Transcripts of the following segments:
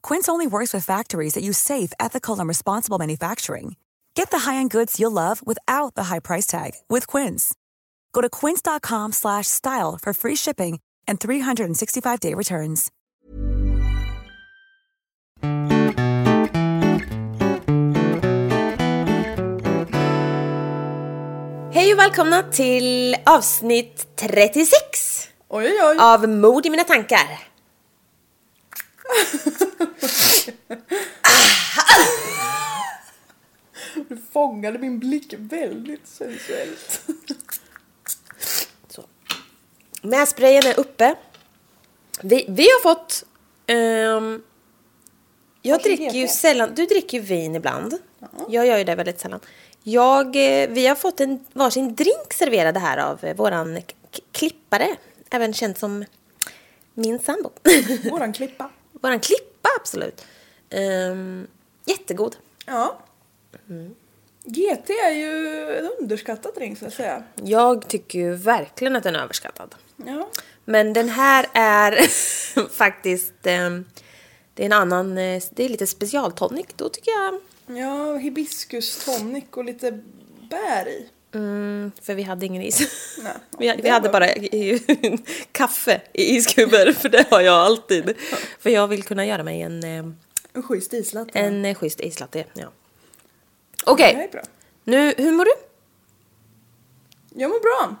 Quince only works with factories that use safe, ethical, and responsible manufacturing. Get the high-end goods you'll love without the high price tag with Quince. Go to quince.com/style slash style for free shipping and 365-day returns. Hej och välkomna till avsnitt 36 Oj, oj. av Mord i mina tankar. Du fångade min blick väldigt sensuellt. Nässprayen är uppe. Vi, vi har fått... ehm, jag Varsin dricker ju GP. sällan... Du dricker ju vin ibland. Jag gör ju det väldigt sällan. Jag, eh, vi har fått en varsin drink serverad här av eh, våran k- k- klippare. Även känd som min sambo. Våran klippa. våran klippa, absolut. Ehm, jättegod. Ja. Mm. GT är ju en underskattad drink så att säga. Jag tycker ju verkligen att den är överskattad. Ja. Men den här är faktiskt... ehm, det är en annan... eh, det är lite specialtonic. Då tycker jag... Ja, hibiskus tonic och lite bär i. Mm, för vi hade ingen is. Nej. vi, vi hade bara i, i, kaffe i iskuber, för det har jag alltid. För jag vill kunna göra mig en, eh, En schysst islatte. en eh, schysst islatte. Ja. Okej, Det här är bra. nu, hur mår du? Jag mår bra.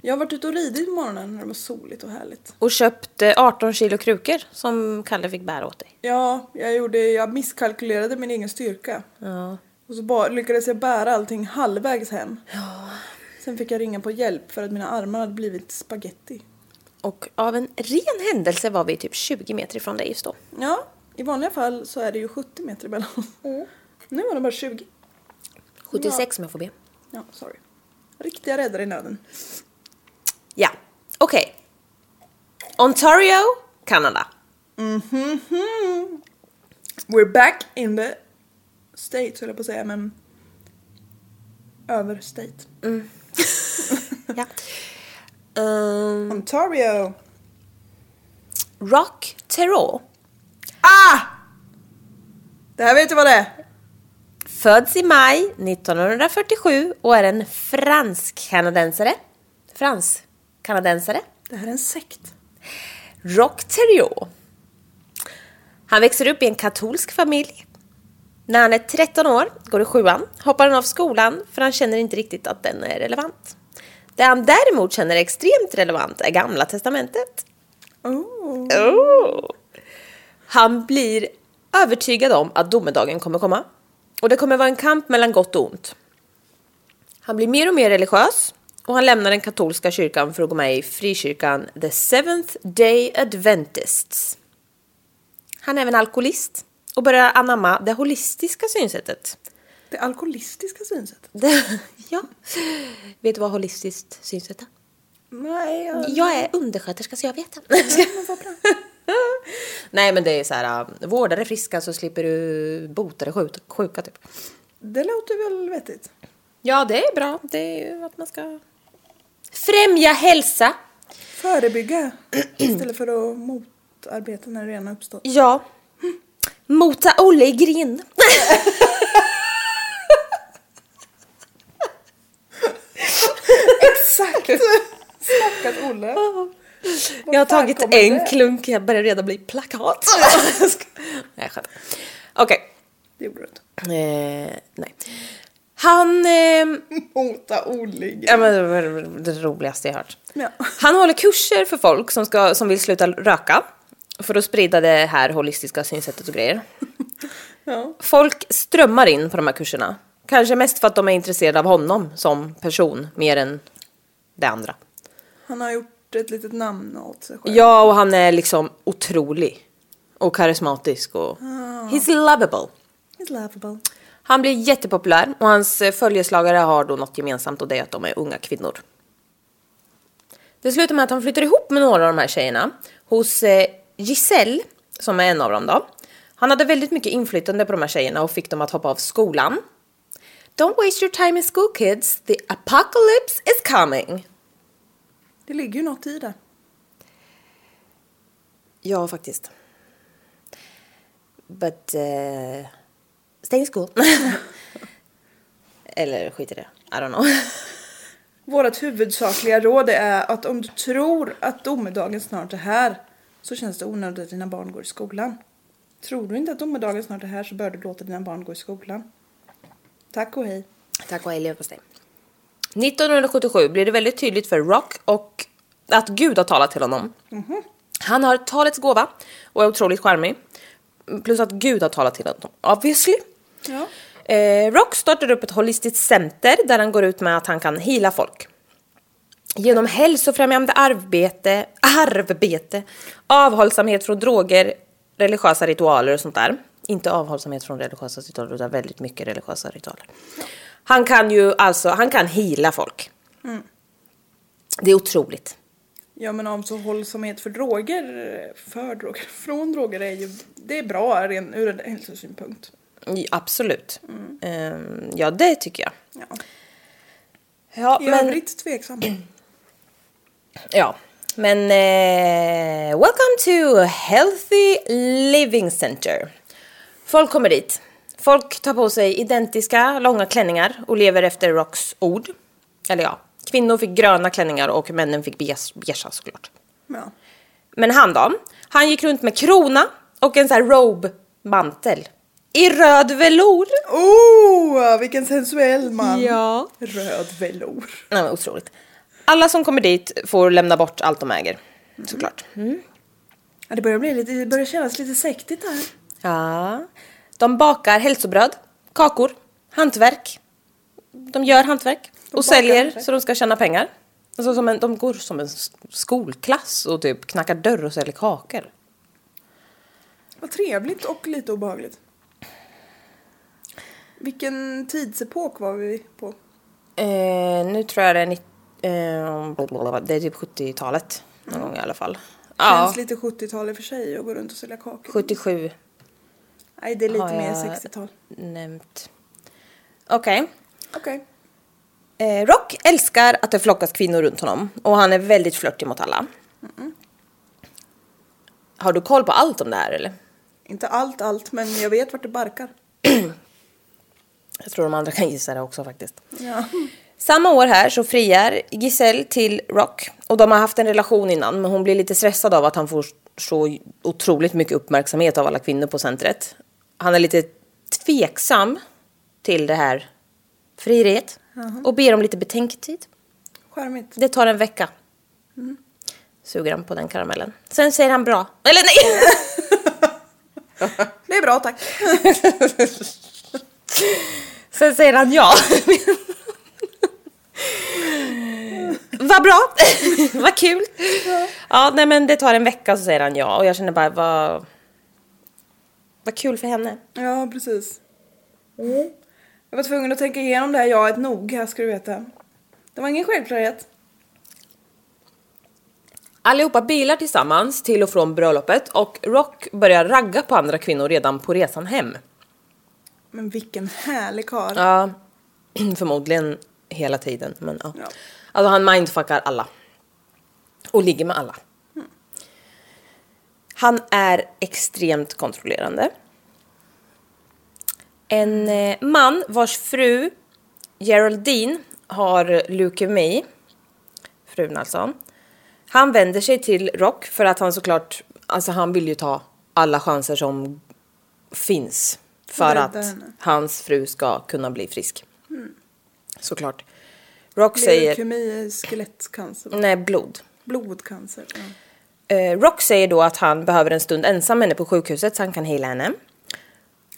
Jag har varit ute och ridit på morgonen när det var soligt och härligt. Och köpt eh, 18 kilo krukor som Kalle fick bära åt dig. Ja, jag, gjorde, jag misskalkylerade min egen styrka. Ja. Och så bara, lyckades jag bära allting halvvägs hem. Sen fick jag ringa på hjälp för att mina armar hade blivit spaghetti. Och av en ren händelse var vi typ 20 meter ifrån dig just då. Ja, i vanliga fall så är det ju 70 meter emellan oss. Nu var det bara 20. 76 om jag får be. Ja, sorry. Riktiga räddare i nöden. Ja, okej. Ontario, Kanada. We're back in the state, höll jag på att säga, men... Över state. Ja. Mm. Ehm, Ontario! Rock Terror. Ah! Det här vet du vad det är! Föds i maj 1947 och är en fransk-kanadensare. Frans-kanadensare. Det här är en sekt. Rock Terrio. Han växer upp i en katolsk familj. När han är 13 år, går i sjuan, hoppar han av skolan för han känner inte riktigt att den är relevant. Det han däremot känner är extremt relevant är Gamla Testamentet. Oh. Oh. Han blir övertygad om att domedagen kommer komma. Och det kommer vara en kamp mellan gott och ont. Han blir mer och mer religiös och han lämnar den katolska kyrkan för att gå med i frikyrkan The Seventh Day Adventists. Han är även alkoholist och börjar anamma det holistiska synsättet. Det alkoholistiska synsättet. Det, ja. Vet du vad holistiskt synsätt är? Nej, jag... Jag är undersköterska så jag vet det. Nej men det är så här, äh, vårda dig friska så slipper du bota dig sjuka, sjuka typ. Det låter väl vettigt. Ja det är bra, det är ju att man ska främja hälsa. Förebygga istället för att motarbeta när det redan har uppstått. Ja. Mota Olle i grind. Exakt! Stackars Olle. Jag har fan tagit kommer en det? klunk, jag börjar redan bli plakat. Nej, skämt. Okej. Det gjorde du inte. Eh, nej. Han... ehm, Mota Olle. ja, men, det var det roligaste jag hört. Ja. Han håller kurser för folk som, ska, som vill sluta röka. För att sprida det här holistiska synsättet och grejer. Ja. Folk strömmar in på de här kurserna. Kanske mest för att de är intresserade av honom som person, mer än det andra. Han har gjort ett litet namn åt sig själv. Ja, och han är liksom otrolig. Och karismatisk och... He's lovable. He's laughable. Han blir jättepopulär och hans eh, följeslagare har då något gemensamt och det är att de är unga kvinnor. Det slutar med att han flyttar ihop med några av de här tjejerna hos eh, Giselle, som är en av dem då. Han hade väldigt mycket inflytande på de här tjejerna och fick dem att hoppa av skolan. Don't waste your time in school kids, the apocalypse is coming. Det ligger ju något i det. Ja, faktiskt. But... Uh, stay in school. Eller skit i det. I don't know. Vårt huvudsakliga råd är att om du tror att domedagen snart är här så känns det onödigt att dina barn går i skolan. Tror du inte att domedagen snart är här så bör du låta dina barn gå i skolan. Tack och hej. Tack och hej, leverpastej. 1977 blir det väldigt tydligt för Rock och att Gud har talat till honom. Han har talets gåva och är otroligt charmig. Plus att Gud har talat till honom, obviously. Ja. Eh, Rock startar upp ett holistiskt center där han går ut med att han kan hila folk. Genom hälsofrämjande arbete, arbete, avhållsamhet från droger, religiösa ritualer och sånt där. Inte avhållsamhet från religiösa ritualer utan väldigt mycket religiösa ritualer. Han kan ju alltså, han kan hila folk. Det är otroligt. Ja men om så hållsamhet för droger, för droger, från droger är ju, det är bra ren, ur en hälsosynpunkt. I- Absolut. Ehm, ja, det tycker jag. Ja. Ja, I men, övrigt tveksam. ja. men eh, welcome to Healthy Living Center. Folk kommer dit. Folk tar på sig identiska långa klänningar och lever efter Rocks ord. Eller ja, kvinnor fick gröna klänningar och männen fick beige- beigea såklart. Ja. Men han då? Han gick runt med krona och en sån här robe-mantel. I röd velour. Oh, vilken sensuell man! Ja. Röd velour. Nej, men otroligt. Alla som kommer dit får lämna bort allt de äger. Såklart. Ja, det börjar bli lite, det börjar kännas lite sektigt här. Ja. De bakar hälsobröd, kakor, hantverk. De gör hantverk och bakar säljer hantverk. så de ska tjäna pengar. Alltså som en, de går som en s- skolklass och typ knackar dörr och säljer kakor. Vad trevligt och lite obehagligt. Vilken tidsepok var vi på? Eh, nu tror jag det är, nitt- eh, blablabla, det är typ 70-talet någon gång i alla fall. Ja, Känns lite 70-tal i och för sig och gå runt och sälja kakor. 77 Nej, det är lite har mer jag- 60-tal. nämnt. Okej. Okej. Eh, Rock älskar att det flockas kvinnor runt honom och han är väldigt flörtig mot alla. Har du koll på allt om det här eller? Inte allt, allt, men jag vet vart det barkar. Jag tror de andra kan gissa det också faktiskt. Ja. Samma år här så friar Giselle till Rock och de har haft en relation innan men hon blir lite stressad av att han får så otroligt mycket uppmärksamhet av alla kvinnor på centret. Han är lite tveksam till det här frieriet och ber om lite betänketid. Charmigt. Det tar en vecka. Suger han på den karamellen. Sen säger han bra. Eller nej! Det är bra, tack. Sen säger han ja. vad bra! vad kul! Ja. nej men det tar en vecka så säger han ja. Och jag känner bara vad... Vad kul för henne. Ja, precis. Mm. Jag var tvungen att tänka igenom det här jaet noga, ska du veta. Det var ingen självklarhet. Allihopa bilar tillsammans till och från bröllopet och Rock börjar ragga på andra kvinnor redan på resan hem. Men vilken härlig karl. Ja, förmodligen hela tiden. Men ja. Ja. Alltså han mindfuckar alla. Och ligger med alla. Han är extremt kontrollerande. En eh, man vars fru Geraldine har leukemi, frun alltså. Han vänder sig till Rock för att han såklart, alltså han vill ju ta alla chanser som finns för Rädda att henne. hans fru ska kunna bli frisk. Såklart. Rock säger... Leukemi är skelettcancer. Nej, blod. Blodcancer. Ja. Eh, Rock säger då att han behöver en stund ensam med henne på sjukhuset så han kan hila henne.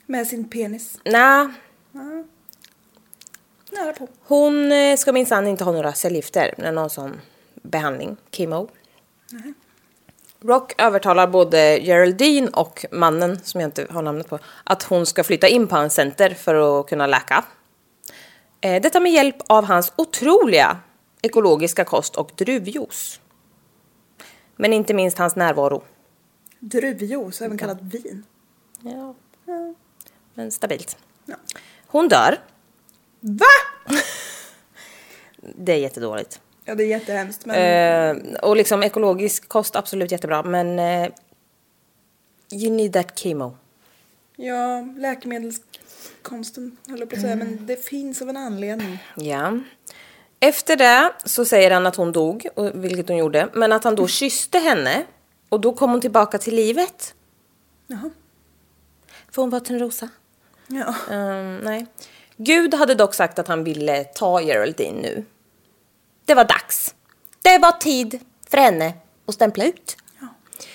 Med sin penis. Nej, Nära på. hon eh, ska minsann inte ha några cellgifter eller någon sån behandling, chemo. Rock övertalar både Geraldine och mannen, som jag inte har namnet på, att hon ska flytta in på hans center för att kunna läka. Eh, Detta med hjälp av hans otroliga ekologiska kost och druvjuice. Men inte minst hans närvaro. Druvjuice, även kallat vin. Ja. Men stabilt. Ja. Hon dör. Va? Det är jättedåligt. Ja, det är jättehemskt men Eh, och liksom ekologisk kost, absolut jättebra. Men eh, you need that chemo. ja, läkemedelskonsten höll jag på att säga. Mm. Men det finns av en anledning. Ja. Efter det så säger han att hon dog, och- vilket hon gjorde. Men att han då kysste henne och då kom hon tillbaka till livet. Jaha. För hon var Törnrosa. Ja. Um, nej. Gud hade dock sagt att han ville ta Geraldine nu. Det var dags. Det var tid för henne att stämpla ut. ja.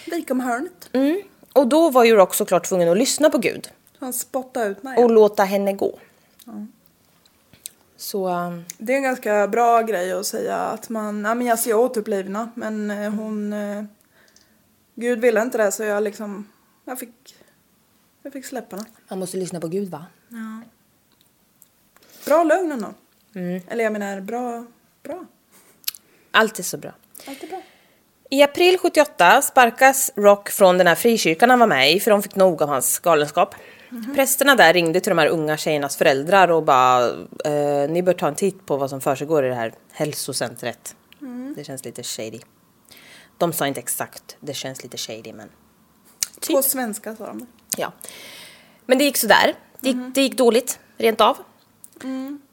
Vik om hörnet. Mm. Och då var ju Rock såklart tvungen att lyssna på Gud Han spottade ut mig. och låta henne gå. Så, um, Det är en ganska bra grej att säga att man, ja men jag ser åt upp livna, men eh, hon, eh, Gud ville inte det så jag liksom, jag fick, jag fick släppa henne. man måste lyssna på Gud va? Bra lögn ändå. Mm. Eller jag menar bra, bra, Allt är så bra. allt är bra. I april 78 sparkas Rock från den här frikyrkan han var med i för de fick nog av hans galenskap. Prästerna där ringde till de här unga tjejernas föräldrar och bara eh, ni bör ta en titt på vad som försiggår i det här hälsocentret. Det känns lite shady. De sa inte exakt, det känns lite shady men Typ. På svenska sa de det. ja. Men det gick sådär. Det, gick- det gick dåligt, rent av.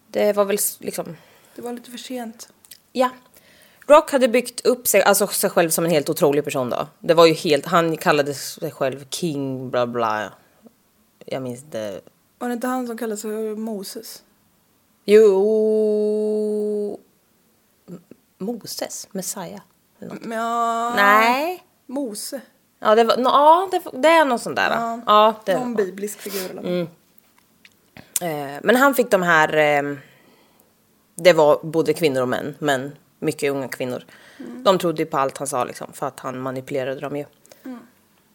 Det var väl s- liksom Det var lite för sent. Ja. Rock hade byggt upp sig, alltså sig själv som en helt otrolig person då. Det var ju helt, han kallade sig själv King bla bla. Jag minns det. Var det inte han som kallades för Moses? Jo... M- Moses? Messiah? eller något. Men, ja, Nej. Mose. Ja, det, var, nå- ja det, var- det är någon sån där va? Ja, det, Någon biblisk figur eller mm. Eh, Men han fick de här... eh, Det var både kvinnor och män, men mycket unga kvinnor. De trodde ju på allt han sa liksom, för att han manipulerade dem ju.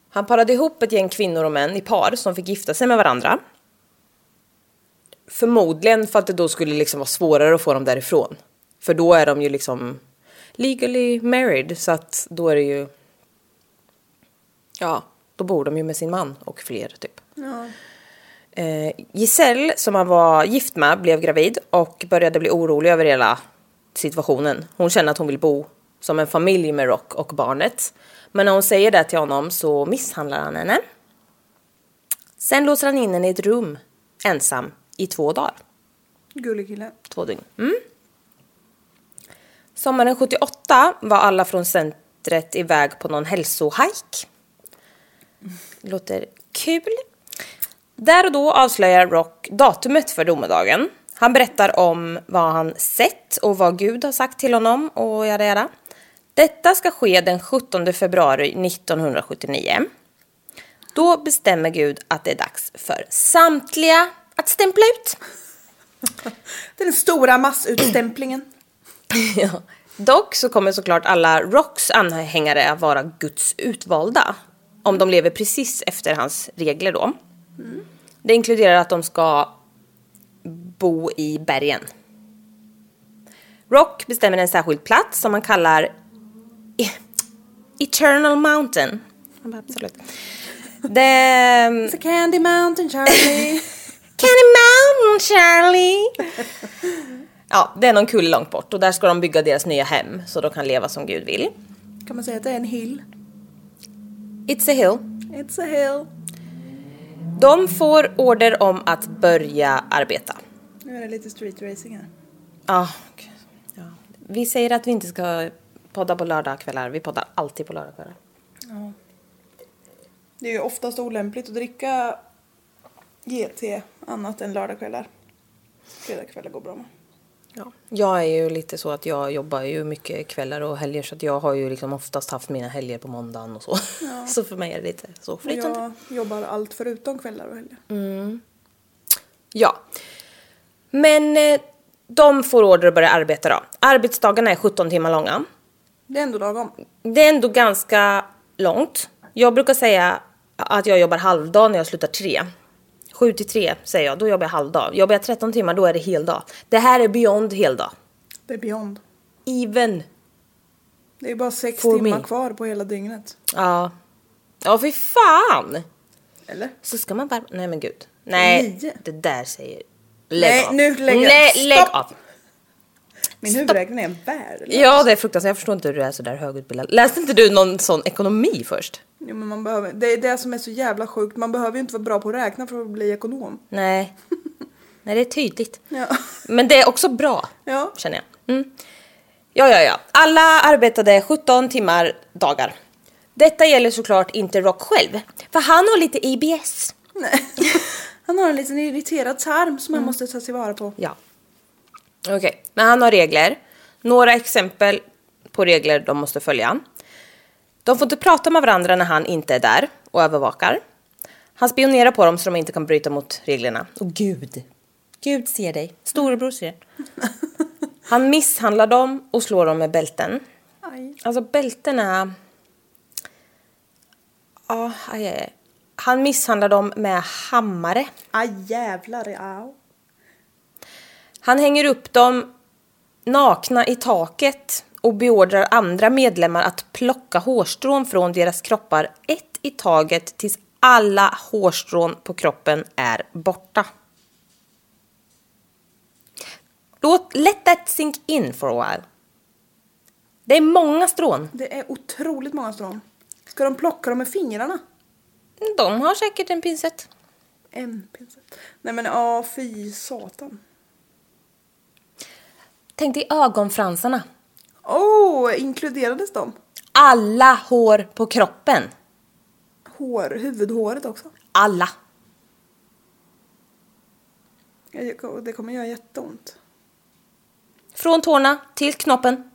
Han parade ihop ett gäng kvinnor och män i par som fick gifta sig med varandra. Förmodligen för att det då skulle liksom vara svårare att få dem därifrån. För då är de ju liksom legally married, så att då är det ju... Ja, då bor de ju med sin man och fler typ. Ja. Eh, Giselle, som han var gift med, blev gravid och började bli orolig över hela situationen. Hon känner att hon vill bo som en familj med Rock och barnet. Men när hon säger det till honom så misshandlar han henne. Sen låser han in henne i ett rum, ensam, i två dagar. Gullig kille. Två dygn. Mm. Sommaren 78 var alla från centret iväg på någon hälsohike. Låter kul. Där och då avslöjar Rock datumet för domedagen. Han berättar om vad han sett och vad Gud har sagt till honom och jada jada. Detta ska ske den 17 februari 1979. Då bestämmer Gud att det är dags för samtliga att stämpla ut. Det är den stora massutstämplingen. Ja. Dock så kommer såklart alla Rocks anhängare att vara Guds utvalda. Om de lever precis efter hans regler då. Mm. Det inkluderar att de ska bo i bergen. Rock bestämmer en särskild plats som han kallar E- Eternal Mountain. Han bara, absolut. ehm, The It's a candy mountain Charlie. Candy Mountain Charlie. ja, det är någon kulle långt bort och där ska de bygga deras nya hem så de kan leva som Gud vill. kan man säga att det är en hill? It's a hill. It's a hill. De får order om att börja arbeta. Nu är det lite street racing här. Ja, gud. ja. Vi säger att vi inte ska podda på lördagkvällar. Vi poddar alltid på lördagkvällar. Det är ju oftast olämpligt att dricka GT annat än lördagkvällar. Fredagkvällar går bra med. Ja. Jag är ju lite så att jag jobbar ju mycket kvällar och helger så att jag har ju liksom oftast haft mina helger på måndagen och så. Så för mig är det lite så Och flytande. jag jobbar allt förutom kvällar och helger. Ja. Men eh, de får order att börja arbeta då. Arbetsdagarna är 17 timmar långa. Det är ändå lagom. Det är ändå ganska långt. Jag brukar säga att jag jobbar halvdag när jag slutar tre. Sju till tre säger jag, då jobbar jag halvdag. Jobbar jag 13 timmar då är det heldag. Det här är beyond heldag. Det är beyond. Even. Det är bara sex For timmar me. kvar på hela dygnet. Ja. Ja, fy fan! Eller? Så ska man bara... Nej men gud. Nej, Nio. det där säger... Lägg Nej, av. nu lägger jag- Nej, lägg Stopp. av. Min huvudräkning är en värld. Ja, det är fruktansvärt. Jag förstår inte hur du är så där högutbildad. Läste inte du någon sån ekonomi först? Jo, men man behöver, det är det som är så jävla sjukt. Man behöver ju inte vara bra på att räkna för att bli ekonom. Nej. Nej, det är tydligt. Ja. Men det är också bra, Ja. känner jag. Mm. Ja, ja, ja. Alla arbetade 17 timmar dagar. Detta gäller såklart inte Rock själv, för han har lite IBS. Nej. Han har en liten irriterad tarm som han måste ta tillvara på. Ja. Okej, men han har regler. Några exempel på regler de måste följa. De får inte prata med varandra när han inte är där och övervakar. Han spionerar på dem så de inte kan bryta mot reglerna. Och Gud! Gud ser dig. Storebror ser. Han misshandlar dem och slår dem med bälten. Aj. Alltså bältena... Ja, aj, aj, aj. Han misshandlar dem med hammare. Aj jävlar ja. Han hänger upp dem nakna i taket och beordrar andra medlemmar att plocka hårstrån från deras kroppar ett i taget tills alla hårstrån på kroppen är borta. Låt, let that sink in for a while. Det är många strån. Det är otroligt många strån. Ska de plocka dem med fingrarna? De har säkert en pinsett. En pinsett. Nej men ja, fy satan. Tänk dig ögonfransarna. Åh, oh, inkluderades de? Alla hår på kroppen. Hår, huvudhåret också. Alla. Jag- Det kommer göra jätteont. Från tårna till knoppen.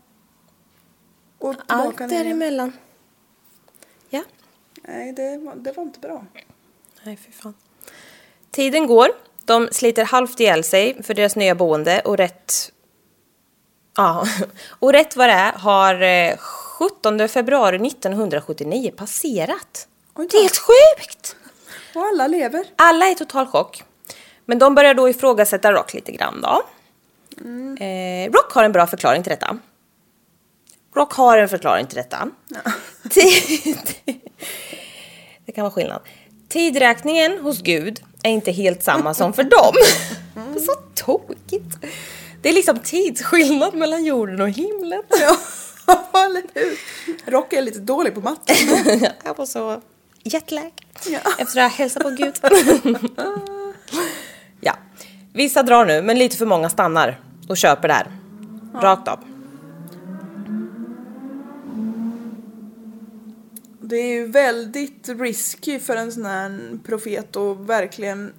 Och Allt tillbaka ner. igen. däremellan. Ja. Nej, det var, det var inte bra. Nej, fy fan. Tiden går. De sliter halvt ihjäl sig för deras nya boende och rätt... Ja, och rätt vad det är har eh, 17 februari 1979 passerat. Oj då. Det är helt sjukt! Och alla lever. Alla är i total chock. Men de börjar då ifrågasätta Rock lite grann då. Eh, Rock har en bra förklaring till detta. Rock har en förklaring till detta. Tid- det kan vara skillnad. Tidräkningen hos Gud är inte helt samma som för dem. Så tokigt. Det är liksom tidsskillnad mellan jorden och himlen. Ja, eller hur? Rock är lite dålig på matte. jag var så jetlag Ja. efter att ha hälsat på Gud. ja. Vissa drar nu, men lite för många stannar och köper där. Rakt av. Det är ju väldigt risky för en sån här profet att verkligen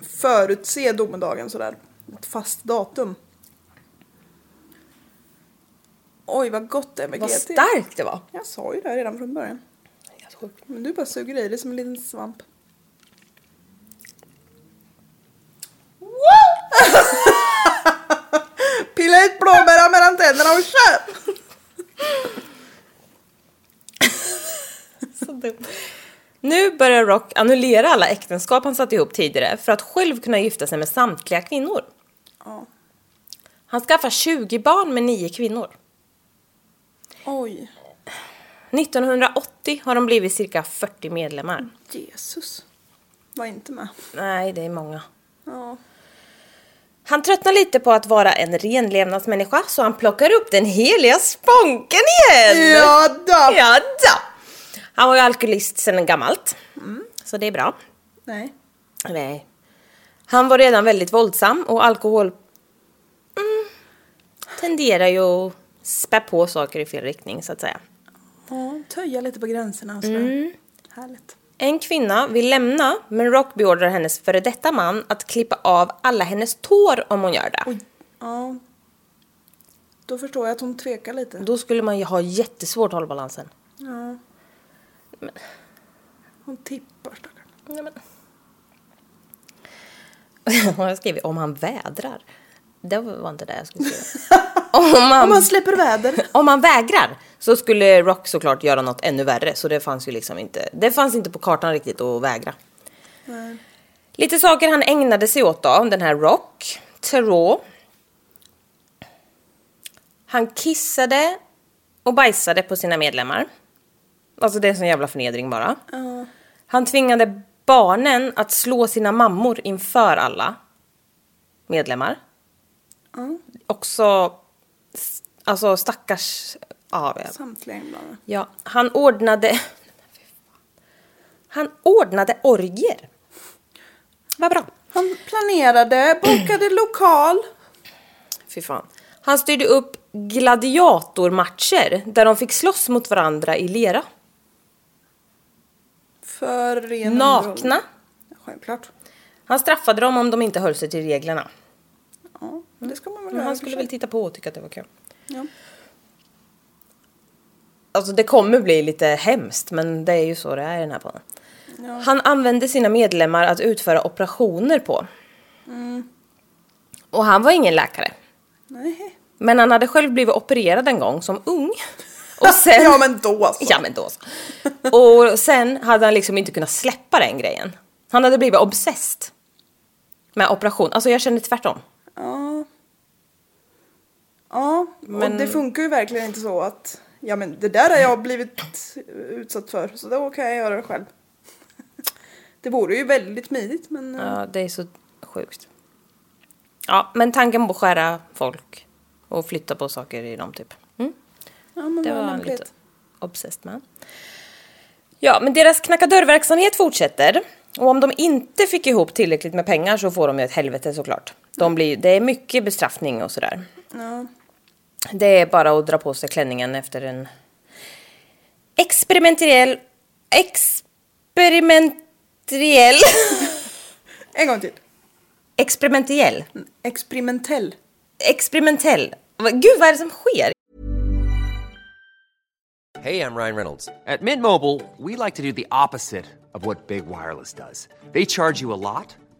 förutse domedagen sådär. Ett fast datum. Oj vad gott det är med Vad GT. starkt det var. Jag sa ju det redan från början. Men du bara suger i dig som en liten svamp. Pilla ut blåbären mellan tänderna och kör! Så dumt. Nu börjar Rock annullera alla äktenskap han satt ihop tidigare för att själv kunna gifta sig med samtliga kvinnor. Ja. Han skaffar 20 barn med 9 kvinnor. Oj. 1980 har de blivit cirka 40 medlemmar. Jesus. Var inte med. Nej, det är många. Ja. Han tröttnar lite på att vara en renlevnadsmänniska så han plockar upp den heliga sponken igen! Ja då. Ja då. Han var ju alkoholist sedan gammalt. Så det är bra. Nej. Nej. Han var redan väldigt våldsam och alkohol mm, tenderar ju att spä på saker i fel riktning så att säga. Ja, töja lite på gränserna och sådär. Mm. Härligt. En kvinna vill lämna men Rock beordrar hennes före detta man att klippa av alla hennes tår om hon gör det. Oj. Ja. Då förstår jag att hon tvekar lite. Då skulle man ju ha jättesvårt att hålla balansen. Ja. Hon tippar stackarn. Ja, men... Har jag skrivit om han vädrar? Det var inte det jag skulle skriva. om, Om han, man släpper väder. om han vägrar så skulle Rock såklart göra något ännu värre. Så det fanns ju liksom inte, det fanns inte på kartan riktigt att vägra. Nej. Lite saker han ägnade sig åt då, den här Rock, Thoreau. Han kissade och bajsade på sina medlemmar. Alltså det är en sån jävla förnedring bara. Ja. Han tvingade barnen att slå sina mammor inför alla medlemmar. Ja. Också, s- alltså stackars... Ja, jag- Samtliga inblandade. ja. Han ordnade... Han ordnade orgier. Vad bra. Han planerade, bokade lokal. Fy fan. Han styrde upp gladiatormatcher där de fick slåss mot varandra i lera. För ren underhållning. Nakna. Självklart. Han straffade dem om de inte höll sig till reglerna. Ja, men det ska man väl Men göra. han i och för skulle sig. väl titta på och tycka att det var kul. Ja. Alltså det kommer bli lite hemskt men det är ju så det är i den här podden. Han använde sina medlemmar att utföra operationer på. Mm. Och han var ingen läkare. Nej. Men han hade själv blivit opererad en gång som ung. Och sen... Ja men då så. Ja men då så. Och sen hade han liksom inte kunnat släppa den grejen. Han hade blivit obsessed. Med operation. Alltså jag känner tvärtom. Ja. Ja, Men- och det funkar ju verkligen inte så att ja men det där har jag blivit utsatt för så då kan jag göra det själv. Det vore ju väldigt smidigt men eh, Ja, det är så sjukt. Ja, men tanken på att skära folk och flytta på saker i dem typ. Mm. ja, men Det var vad han lite lämpligt. obsessed med. Ja, men deras knacka dörrverksamhet fortsätter. Och om de inte fick ihop tillräckligt med pengar så får de ju ett helvete såklart. De blir, det är mycket bestraffning och sådär. Ja. Det är bara att dra på sig klänningen efter en experimentell... Experimentell... En gång till. experimentell. Experimentell. Experimentell. Vad- Gud, vad är det som sker? Hey, I'm Ryan Reynolds. At Mint Mobile, we like to do the opposite of what Big Wireless does. They charge you a lot,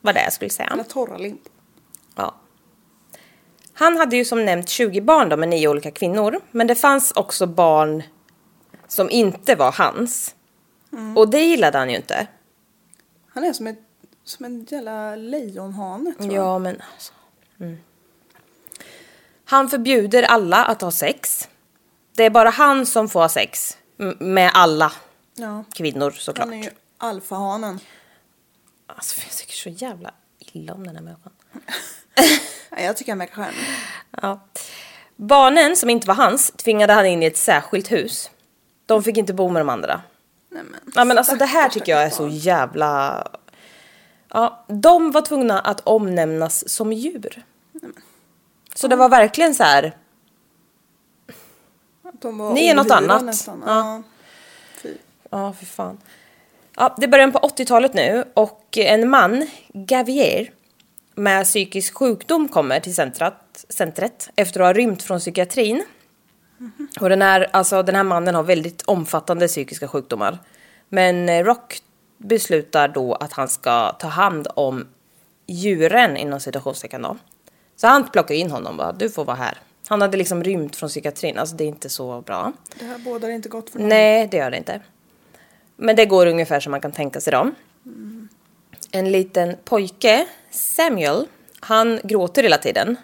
Vad det är jag skulle säga. Eller torra limp. Ja. Han hade ju som nämnt 20 barn då med nio olika kvinnor. Men det fanns också barn som inte var hans. Mm. Och det gillade han ju inte. Han är som, ett, som en jävla lejonhane tror jag. Ja, men alltså. Mm. Han förbjuder alla att ha sex. Det är bara han som får ha sex. M- med alla Ja. kvinnor såklart. Han är ju alfahanen. Alltså, jag tycker så jävla illa om den här människan. Nej, jag tycker han verkar charmig. Ja. Barnen, som inte var hans, tvingade han in i ett särskilt hus. De fick inte bo med de andra. Nej, men. Ja men alltså det här Stackars, tycker jag är stackars så barn. jävla... Ja, de var tvungna att omnämnas som djur. Så det var verkligen så här. De var Ni är något ohyra annat. nästan. Ja. Ja. Fy. Ja, för fan. Ja, det är början på 80-talet nu och en man, Gavier, med psykisk sjukdom kommer till centrat, centret efter att ha rymt från psykiatrin. Och den här, alltså, den här mannen har väldigt omfattande psykiska sjukdomar. Men eh, Rock beslutar då att han ska ta hand om djuren inom situationstecken då. Så han plockar in honom bara, du får vara här. Han hade liksom rymt från psykiatrin, alltså det är inte så bra. Det här bådar inte gott för någon. Nej, det gör det inte. Men det går ungefär som man kan tänka sig dem. En liten pojke, Samuel, han gråter hela tiden.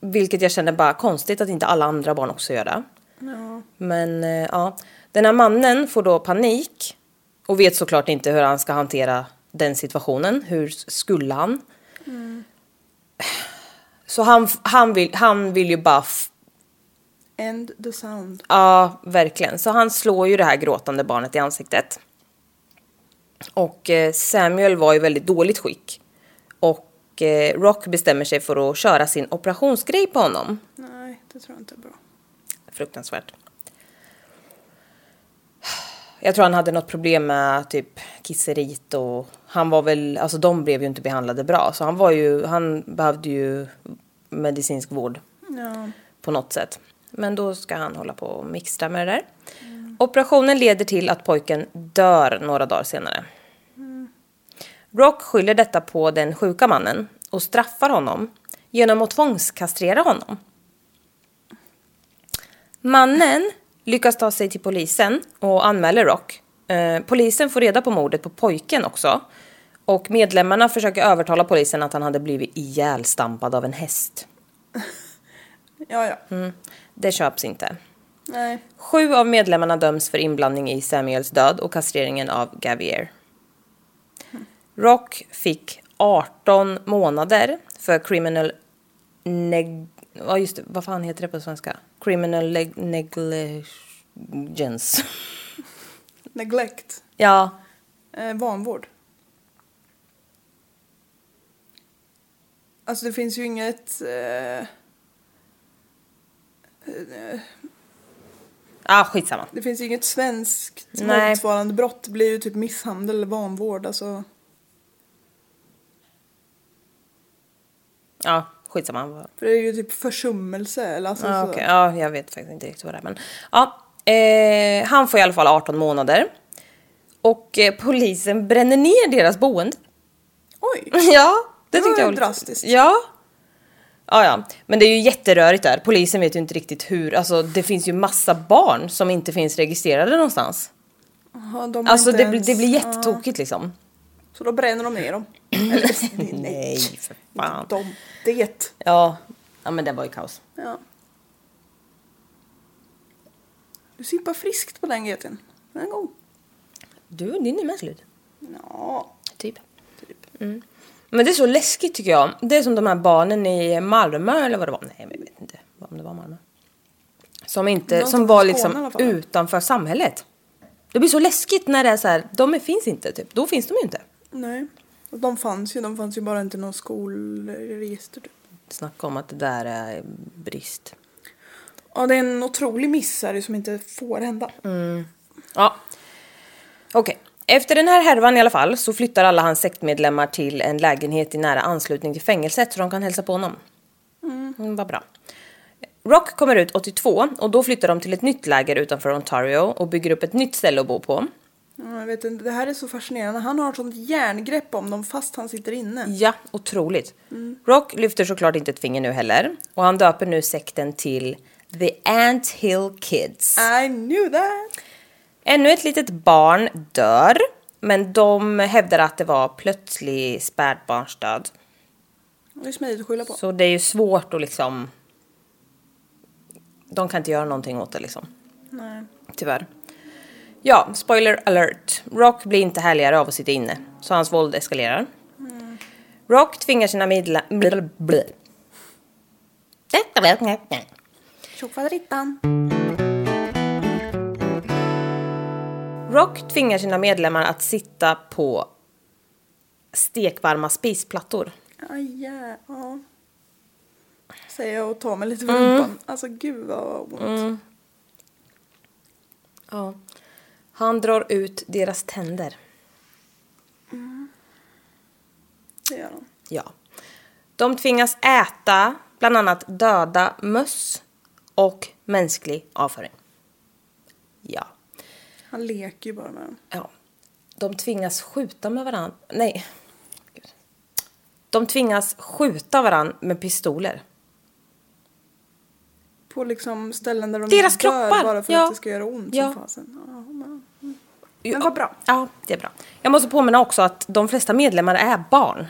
Vilket jag känner bara konstigt att inte alla andra barn också gör det. Men eh, ja, den här mannen får då panik och vet såklart inte hur han ska hantera den situationen. Hur skulle han? Så han, han, vill, han vill ju bara f- End the sound. Ja, verkligen. Så han slår ju det här gråtande barnet i ansiktet. Och eh, Samuel var i väldigt dåligt skick. Och eh, Rock bestämmer sig för att köra sin operationsgrej på honom. Nej, det tror jag inte är bra. Fruktansvärt. Jag tror han hade något problem med typ kisserit och han var väl, alltså de blev ju inte behandlade bra. Så han var ju, han behövde ju medicinsk vård Ja. på något sätt. Men då ska han hålla på och mixtra med det där. Operationen leder till att pojken dör några dagar senare. Rock skyller detta på den sjuka mannen och straffar honom genom att tvångskastrera honom. Mannen lyckas ta sig till polisen och anmäler Rock. Eh, polisen får reda på mordet på pojken också. Och medlemmarna försöker övertala polisen att han hade blivit ihjälstampad av en häst. Ja, ja. Det köps inte. Nej. Sju av medlemmarna döms för inblandning i Samuels död och kastreringen av Gavier. Rock fick 18 månader för criminal neg... Ja, just det. Vad fan heter det på svenska? Criminal neg- negligence. Neglect. ja, Eh, vanvård. Alltså det finns ju inget... Eh, ah, skitsamma. det finns ju inget svenskt Nej. motsvarande brott. Det blir ju typ misshandel eller vanvård. Alltså, Ja, skitsamma. för det är ju typ försummelse. Eller alltså, Ja, så. okej. ja, jag vet faktiskt inte riktigt vad det är. Men, ja, eh, han får i alla fall 18 månader. Och eh, polisen bränner ner deras boende. Oj! Ja, det, Det var tyckte jag ju lite- drastiskt. Ja. Ja, ja. Men det är ju jätterörigt där. Polisen vet ju inte riktigt hur. Alltså, det finns ju massa barn som inte finns registrerade någonstans. Jaha, de har Alltså, inte det, blir- det ens- blir ja. jättetokigt liksom. Så då bränner de ner dem. Eller, nej, Nej, för fan. De, det. Ja. ja, men det var ju kaos. Ja. Du sippar friskt på den geten. Den är god. Du, din är med slut. Ja. Typ. Mm. Men det är så läskigt tycker jag. Det är som de här barnen i Malmö eller vad det var. Nej, men jag vet inte om det var Malmö. Som inte, Någonting som var från Skåne i liksom alla fall. utanför samhället. Det blir så läskigt när det är så här, de är- finns inte typ. Då finns de ju inte. Nej. Och De fanns ju, de fanns ju bara inte i någon skolregister. typ. Snacka om att det där är brist. Ja, det är en otrolig miss här som inte får hända. Mm. Ja. Okej. Efter den här härvan i alla fall så flyttar alla hans sektmedlemmar till en lägenhet i nära anslutning till fängelset så de kan hälsa på honom. Mm, vad bra. Rock kommer ut 82 och då flyttar de till ett nytt läger utanför Ontario och bygger upp ett nytt ställe att bo på. Ja, Jag vet inte, det här är så fascinerande. Han har ett sånt järngrepp om dem fast han sitter inne. Ja, Mm. otroligt. Rock lyfter såklart inte ett finger nu heller och han döper nu sekten till The Ant Hill Kids. I knew that! Ännu ett litet barn dör, men de hävdar att det var plötslig spädbarnsdöd. Det är smidigt att skylla på. Så det är ju svårt att liksom... De kan inte göra någonting åt det liksom. Nej. Tyvärr. Ja, spoiler alert. Rock blir inte härligare av att sitta inne, så hans våld eskalerar. Rock tvingar sina medlemmar... Tjofaderittan. Rock tvingar sina medlemmar att sitta på stekvarma spisplattor. Aj, ja, ja. Säger jag och tar mig lite för Mm. rumpan. Alltså gud vad ont. Ja. Han drar ut deras tänder. Det gör de. Ja. De tvingas äta bland annat döda möss och mänsklig avföring. Ja. Han leker ju bara med dem. ja. De tvingas skjuta med varandra. Nej. Gud. De tvingas skjuta varandra med pistoler. På liksom ställen där de Deras dör kroppar, bara för ja. att det ska göra ont Ja. som fasen. Ja, men- Ja. Men vad bra. Ja, det är bra. Jag måste påminna också att de flesta medlemmar är barn.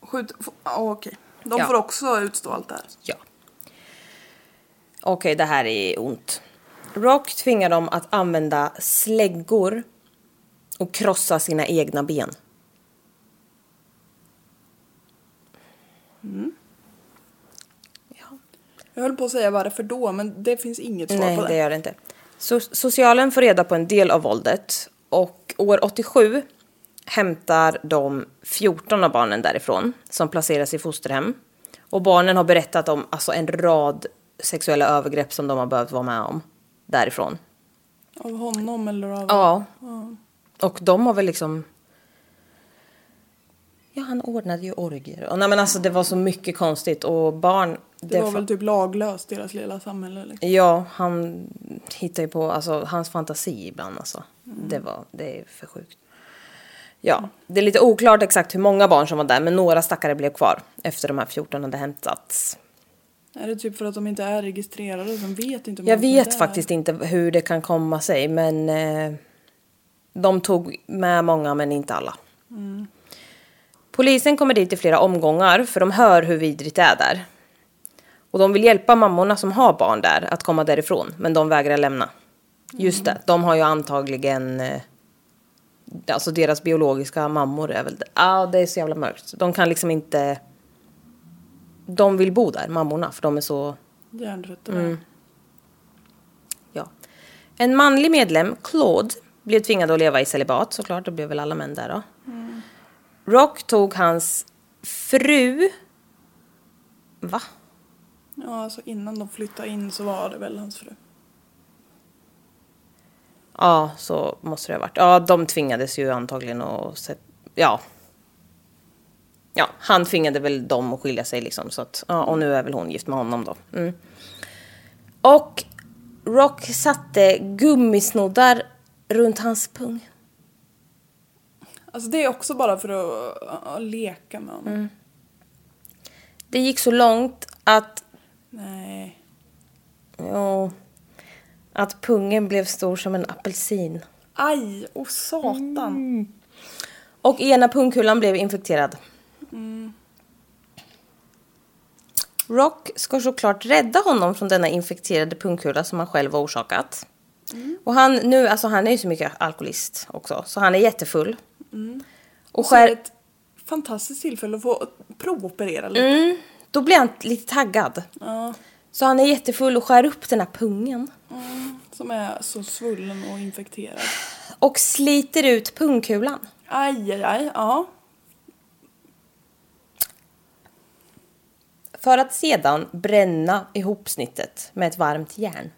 Skjut... f- Ja, okej. De Ja. får också utstå allt det här. Ja. Okej, det här är ont. Rock tvingar dem att använda släggor och krossa sina egna ben. Jag höll på att säga varför då, men det finns inget svar Nej, på det. det. gör det inte. So socialen får reda på en del av våldet och år 87 hämtar de 14 av barnen därifrån som placeras i fosterhem. Och barnen har berättat om alltså, en rad sexuella övergrepp som de har behövt vara med om därifrån. Av honom eller av... Ja. Och de har väl liksom... Ja, han ordnade ju orgier. Och, nej, men alltså det var så mycket konstigt och barn... Det var fa- väl typ laglöst, deras lilla samhälle. Liksom. Ja, han hittar ju på, alltså hans fantasi ibland alltså. Mm. Det var, det är för sjukt. Ja, det är lite oklart exakt hur många barn som var där, men några stackare blev kvar efter de här 14 hade hämtats. Är det typ för att de inte är registrerade? De vet inte hur Jag många som är vet där. faktiskt inte hur det kan komma sig, men eh, de tog med många, men inte alla. Mm. Polisen kommer dit i flera omgångar, för de hör hur vidrigt det är där. Och de vill hjälpa mammorna som har barn där att komma därifrån, men de vägrar lämna. Just Mm. det, de har ju antagligen... eh, Alltså deras biologiska mammor är väl... Ja, ah, det är så jävla mörkt. De kan liksom inte... De vill bo där, mammorna, för de är så Hjärntrötta. Mm. Ja. En manlig medlem, Claude, blev tvingad att leva i celibat såklart. Det blev väl alla män där då. Rock tog hans fru... Va? Ja, alltså innan de flyttade in så var det väl hans fru. Ja, så måste det ha varit. Ja, de tvingades ju antagligen att... se- Ja. Ja, han tvingade väl dem att skilja sig liksom. Så att, ja, och nu är väl hon gift med honom då. Mm. Och Rock satte gummisnoddar runt hans pung. Alltså det är också bara för att äh, äh, leka med honom. Mm. Det gick så långt att Nej. Ja. Att pungen blev stor som en apelsin. Aj, och satan. Mm. Och ena pungkulan blev infekterad. Mm. Rock ska såklart rädda honom från denna infekterade pungkula som han själv har orsakat. Mm. Och han nu, alltså han är ju så mycket alkoholist också, så han är jättefull. Och Mm. Så skär, är det ett fantastiskt tillfälle att få provoperera lite. då blir han lite taggad. Ja, Så han är jättefull och skär upp den här pungen. Mm. som är så svullen och infekterad. Och sliter ut pungkulan. Aj, aj, aj. Ja. För att sedan bränna ihop snittet med ett varmt järn.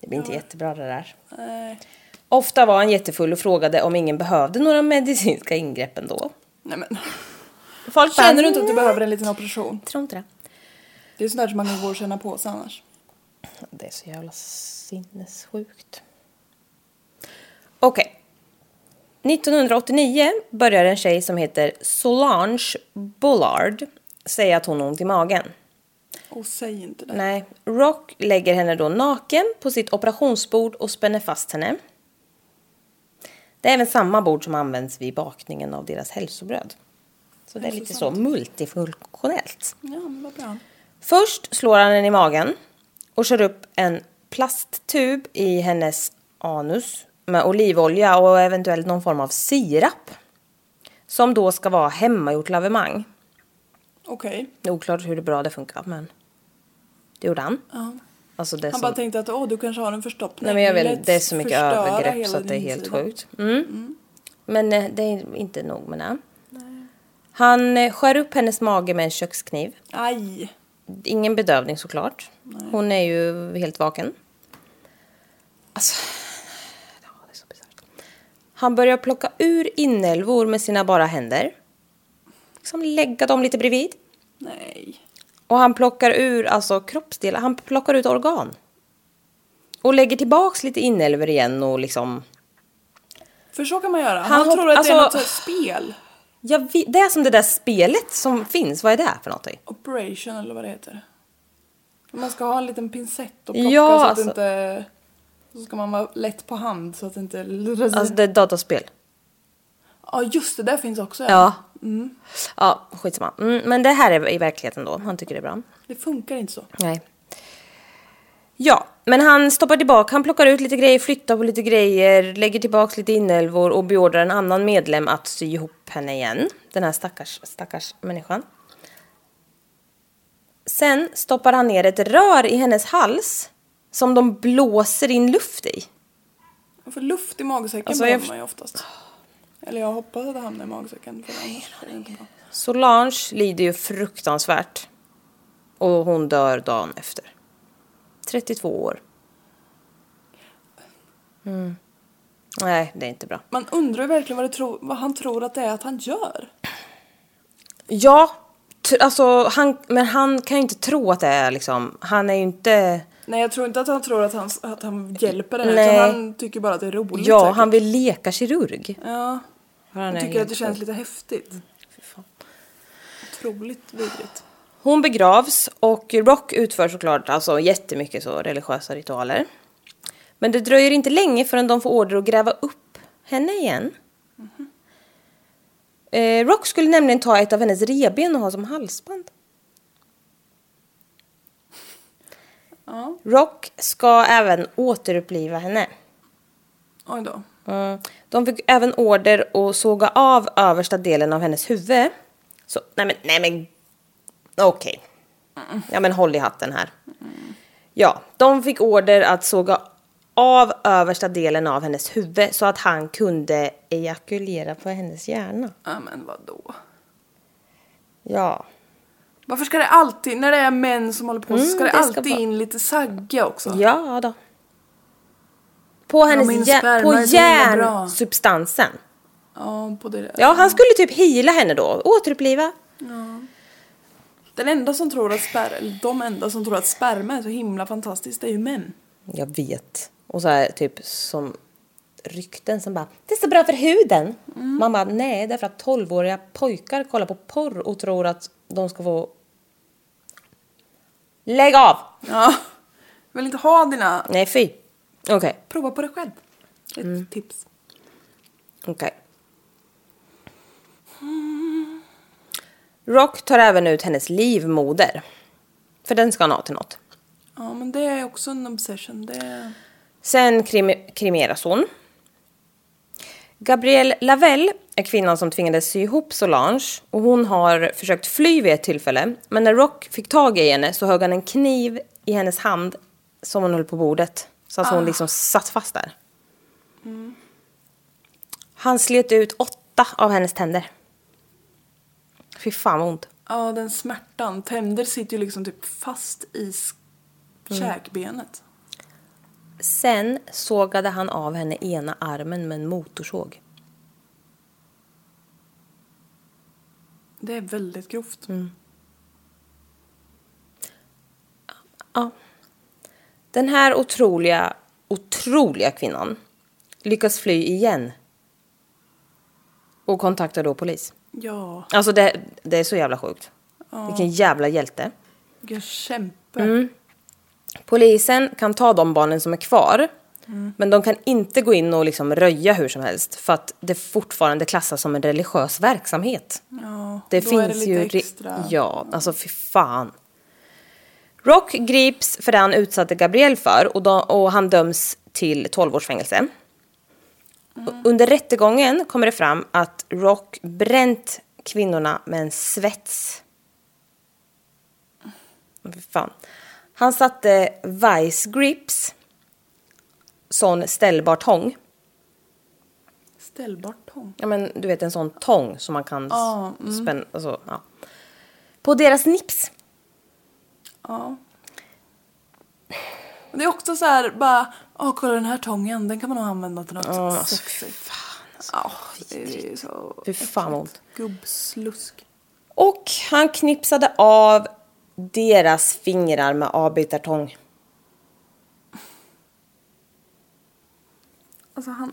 Det blir inte jättebra det där. Nej. Ofta var han jättefull och frågade om ingen behövde några medicinska ingrepp ändå. Nej men. Folk bara, Känner du inte att du "Nej, behöver en liten operation? jag Tror inte det. Det är sånt där som man nog går känna på sig annars. Det är så jävla sinnessjukt. Okej. 1989 börjar en tjej som heter Solange Bullard säga att hon har ont i magen. Och säg inte det. Nej, Rock lägger henne då naken på sitt operationsbord och spänner fast henne. Det är även samma bord som används vid bakningen av deras hälsobröd. Så det är lite så multifunktionellt. Ja, men vad bra. Först slår han henne i magen och kör upp en plasttub i hennes anus med olivolja och eventuellt någon form av sirap. Som då ska vara hemmagjort lavemang. Okej. Det är oklart hur bra det funkar men det gjorde han. Ja. Alltså det som... Han bara tänkte att åh, du kanske har en Nej förstoppning. men jag Let's vet, det är så mycket förstöra övergrepp hela så att det är din helt sida. sjukt. Mm. Men eh, det är inte nog med det. Han eh, skär upp hennes mage med en kökskniv. Aj. Ingen bedövning såklart. Hon är ju helt vaken. Alltså... ja, det är så bisarrt. Han börjar plocka ur inälvor med sina bara händer. Liksom lägga dem lite bredvid. Nej. Och han plockar ur alltså kroppsdelar, han plockar ut organ. Och lägger tillbaks lite inälvor igen och liksom... För så kan man göra. Han Han, hopp- tror att det är något alltså- så här spel. Jag vet, det är som det där spelet som finns, vad är det för någonting? Operation eller vad det heter. Man ska ha en liten pincett och plocka Ja, så att alltså- det inte... Så ska man vara lätt på hand så att det inte... Alltså det är ett dataspel. Ja just det, där finns också Ja. Mm. Ja, skitsamma. Mm, men det här är i verkligheten då, han tycker det är bra. Det funkar inte så. Nej. Ja, men han stoppar tillbaka, han plockar ut lite grejer, flyttar på lite grejer, lägger tillbaks lite inälvor och beordrar en annan medlem att sy ihop henne igen. Den här stackars, stackars människan. Sen stoppar han ner ett rör i hennes hals som de blåser in luft i. Man får luft i magsäcken Alltså, behöver jag- man ju oftast. Eller jag hoppas att det hamnar i magsäcken. För annars är det inte bra. Solange lider ju fruktansvärt. Och hon dör dagen efter. 32 år. Mm. Nej, det är inte bra. Man undrar ju verkligen vad, det tro, vad han tror att det är att han gör. Ja, t- alltså han, men han kan ju inte tro att det är liksom, han är ju inte, Nej jag tror inte att han tror att han, att han hjälper henne Nej. utan han tycker bara att det är roligt ja säkert. han vill leka kirurg. Ja. Han Han är tycker helt att det känns sjuk. lite häftigt. Otroligt vidrigt. Hon begravs och Rock utför såklart alltså jättemycket så religiösa ritualer. Men det dröjer inte länge förrän de får order att gräva upp henne igen. Eh, Rock skulle nämligen ta ett av hennes reben och ha som halsband. Ja, Rock ska även återuppliva henne. oj då. Mm. De fick även order att såga av översta delen av hennes huvud. Så, nej men, nej men. Okej. Ja men håll i hatten här. Ja, de fick order att såga av översta delen av hennes huvud så att han kunde ejakulera på hennes hjärna. Ja men vadå? Ja. Varför ska det alltid, när det är män som håller på så ska Mm, det, det ska alltid vara- in lite sagga också? Ja då. På men hennes hjär- sperma på är så himla bra. hjärnsubstansen. Ja, på det där. Ja, han skulle typ hila henne då. Återuppliva. Den enda som tror att spär, eller de enda som tror att sperma är så himla fantastiskt det är ju män. Jag vet. Och så här typ som rykten som bara det är så bra för huden. Man bara nej, därför att 12-åriga pojkar kollar på porr och tror att de ska få Lägg av! Ja. Vill inte ha dina... Nej fy. Okej, Prova på det själv. Ett tips. okej. Rock tar även ut hennes livmoder. För den ska han ha till något. Ja, men det är också en obsession. Det är... Sen krim- kremeras hon. Gabrielle Lavelle är kvinnan som tvingades sy ihop Solange och hon har försökt fly vid ett tillfälle. Men när Rock fick tag i henne så högg han en kniv i hennes hand som hon höll på bordet. Så att hon liksom satt fast där. Han slet ut åtta av hennes tänder. Fy fan vad ont. Ja, den smärtan. Tänder sitter ju liksom typ fast i sk- Mm. käkbenet. Sen sågade han av henne ena armen med en motorsåg. Det är väldigt grovt. Ja. Den här otroliga, otroliga kvinnan lyckas fly igen. Och kontaktar då polis. Ja, Alltså det, det är så jävla sjukt. Vilken jävla hjälte. vilken kämpe. Polisen kan ta de barnen som är kvar. Mm. Men de kan inte gå in och liksom röja hur som helst. För att det fortfarande klassas som en religiös verksamhet. Ja, Det då finns är det lite ju... ri- extra. Ja, alltså fy fan. Rock grips för det han utsatte Gabriel för och, då, och han döms till 12 års Mm. fängelse. Och Under rättegången kommer det fram att Rock bränt kvinnorna med en svets Men för fan. Han satte Vice Grips, sån ställbar tång. Ställbart tång. Ja men du vet en sån tång som man kan Ja, mm. spänna, alltså, ja. På deras nips. Ja. Men Det är också så här bara, åh kolla den här tången, den kan man nog använda till något sexigt. Ja, det är ju så... alltså. Fy fan vad ont. Gubbslusk. Och han knipsade av deras fingrar med avbitartång. Alltså han,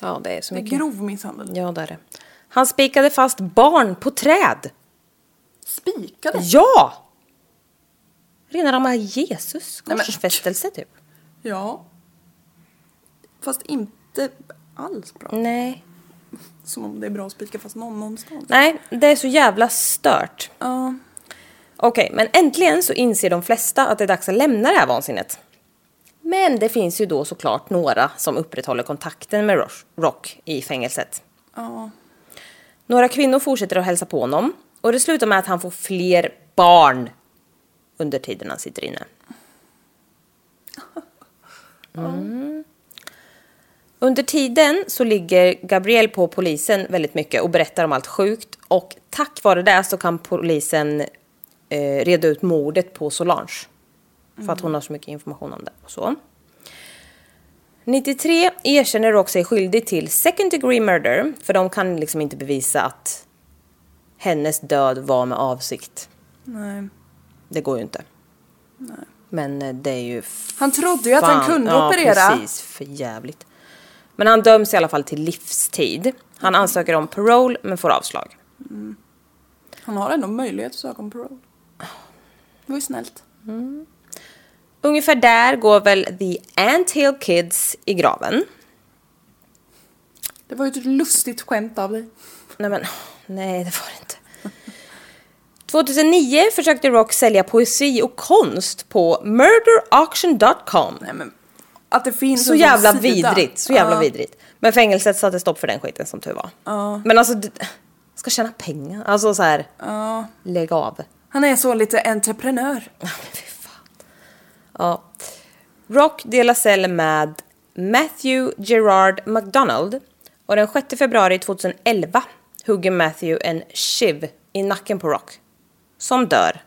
Ja det är så det är mycket. grov misshandel. Ja det är det. Han spikade fast barn på träd. Spikade? Ja! Rena rama Jesus Nej, men- korsfästelse typ. Ja. Fast inte alls bra. Nej. Som om det är bra att spika fast någon någonstans. Nej, det är så jävla stört. Ja. Okej, men äntligen så inser de flesta att det är dags att lämna det här vansinnet. Men det finns ju då såklart några som upprätthåller kontakten med Rosh- Rock i fängelset. Ja. Några kvinnor fortsätter att hälsa på honom och det slutar med att han får fler barn under tiden han sitter inne. Mm. Under tiden så ligger Gabriel på polisen väldigt mycket och berättar om allt sjukt och tack vare det så kan polisen eh, reda ut mordet på Solange. För att hon har så mycket information om det och så. 93 erkänner dock sig skyldig till second degree murder för de kan liksom inte bevisa att hennes död var med avsikt. Nej. Det går ju inte. Men eh, det är ju... f- Han trodde ju att han kunde ja, operera. precis. För jävligt. Men han döms i alla fall till livstid. Han ansöker om parole men får avslag. Han har ändå möjlighet att söka om parole. Det var ju snällt. Ungefär där går väl The Ant Hill Kids i graven. Det var ju ett lustigt skämt av dig. Nej men, nej det var det inte. 2009 försökte Rock sälja poesi och konst på murderauction.com. Nej men. Att det finns Så en sån jävla sida. vidrigt, så jävla Ja. vidrigt. Men fängelset satte stopp för den skiten som tur var. Men alltså, d- ska tjäna pengar. Alltså så här, Ja. lägg av. Han är så lite entreprenör. Ja. Rock delar cell med Matthew Gerard McDonald och den 6 februari 2011 hugger Matthew en shiv i nacken på Rock som dör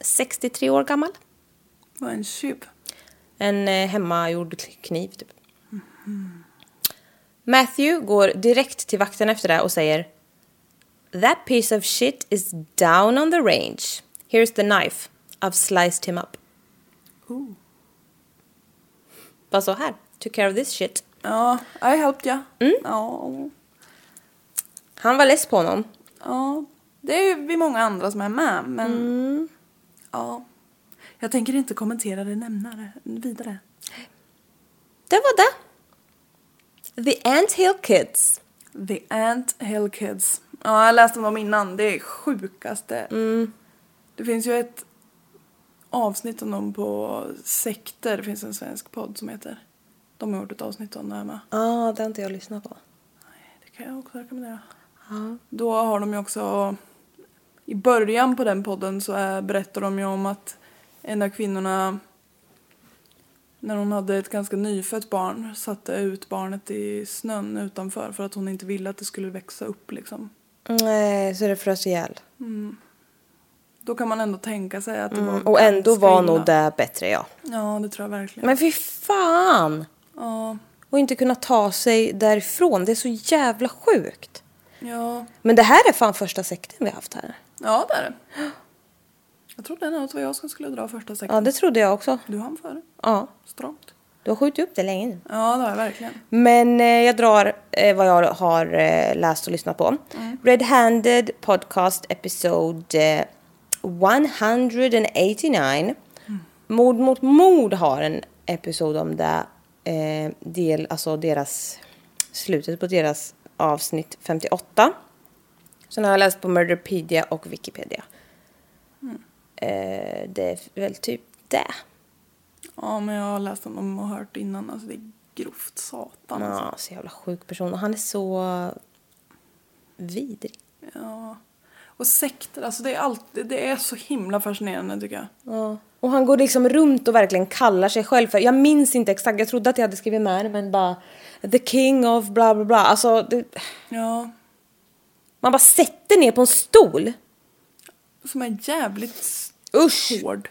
63 år gammal. Vad en tjuv. En eh, hemmagjord kniv typ. Matthew går direkt till vakten efter det och säger That piece of shit is down on the range. Here's the knife. I've sliced him up. Bara så här. Took care of this shit. Ja, I helped ya. Ja. Han var less på honom. ja. Det är ju vi många andra som är med men. Ja. Jag tänker inte kommentera det nämnare vidare. Det var det. The Ant Hill Kids. The Ant Hill Kids. Ja, jag läste om dem innan. Det är sjukaste. Det finns ju ett avsnitt om dem på sekter. Det finns en svensk podd som heter. De har gjort ett avsnitt om det här med. Ja, Ah, det har inte jag lyssnat på. Det kan jag också rekommendera. Då har de ju också... I början på den podden så är, berättar de ju om att en av kvinnorna när hon hade ett ganska nyfött barn satte ut barnet i snön utanför för att hon inte ville att det skulle växa upp liksom. Nej, så det frös ihjäl. Då kan man ändå tänka sig att det var... Mm, Och ändå var kvinna. nog det bättre, ja. Ja, det tror jag verkligen. Men fy fan! Ja, och inte kunna ta sig därifrån. Det är så jävla sjukt. ja, Men det här är fan första sekten vi har haft här. ja det är det. Jag trodde ändå att det var jag som skulle dra första sekten. Ja, det trodde jag också. Du hann före. Ja, Stramt. du har skjutit upp det länge nu. Ja, det har jag verkligen. Men eh, jag drar eh, vad jag har eh, läst och lyssnat på. Red Handed Podcast Episode eh, 189. Mord mot mord har en episod om det. Eh, del, alltså deras, slutet på deras avsnitt 58. Sen har jag läst på Murderpedia och Wikipedia. Eh, det är väl typ det. Ja, men jag har läst om dem och hört innan. Alltså det är grovt satan. Alltså. Ja, så jävla sjuk person. Och han är så vidrig. Ja. Och sekter, alltså det är, allt, det är så himla fascinerande tycker jag. Ja. Och han går liksom runt och verkligen kallar sig själv för, jag minns inte exakt, jag trodde att jag hade skrivit med det men bara The King of bla bla bla. Alltså, det, Ja. man bara sätter ner på en stol. Som är jävligt Usch! hård.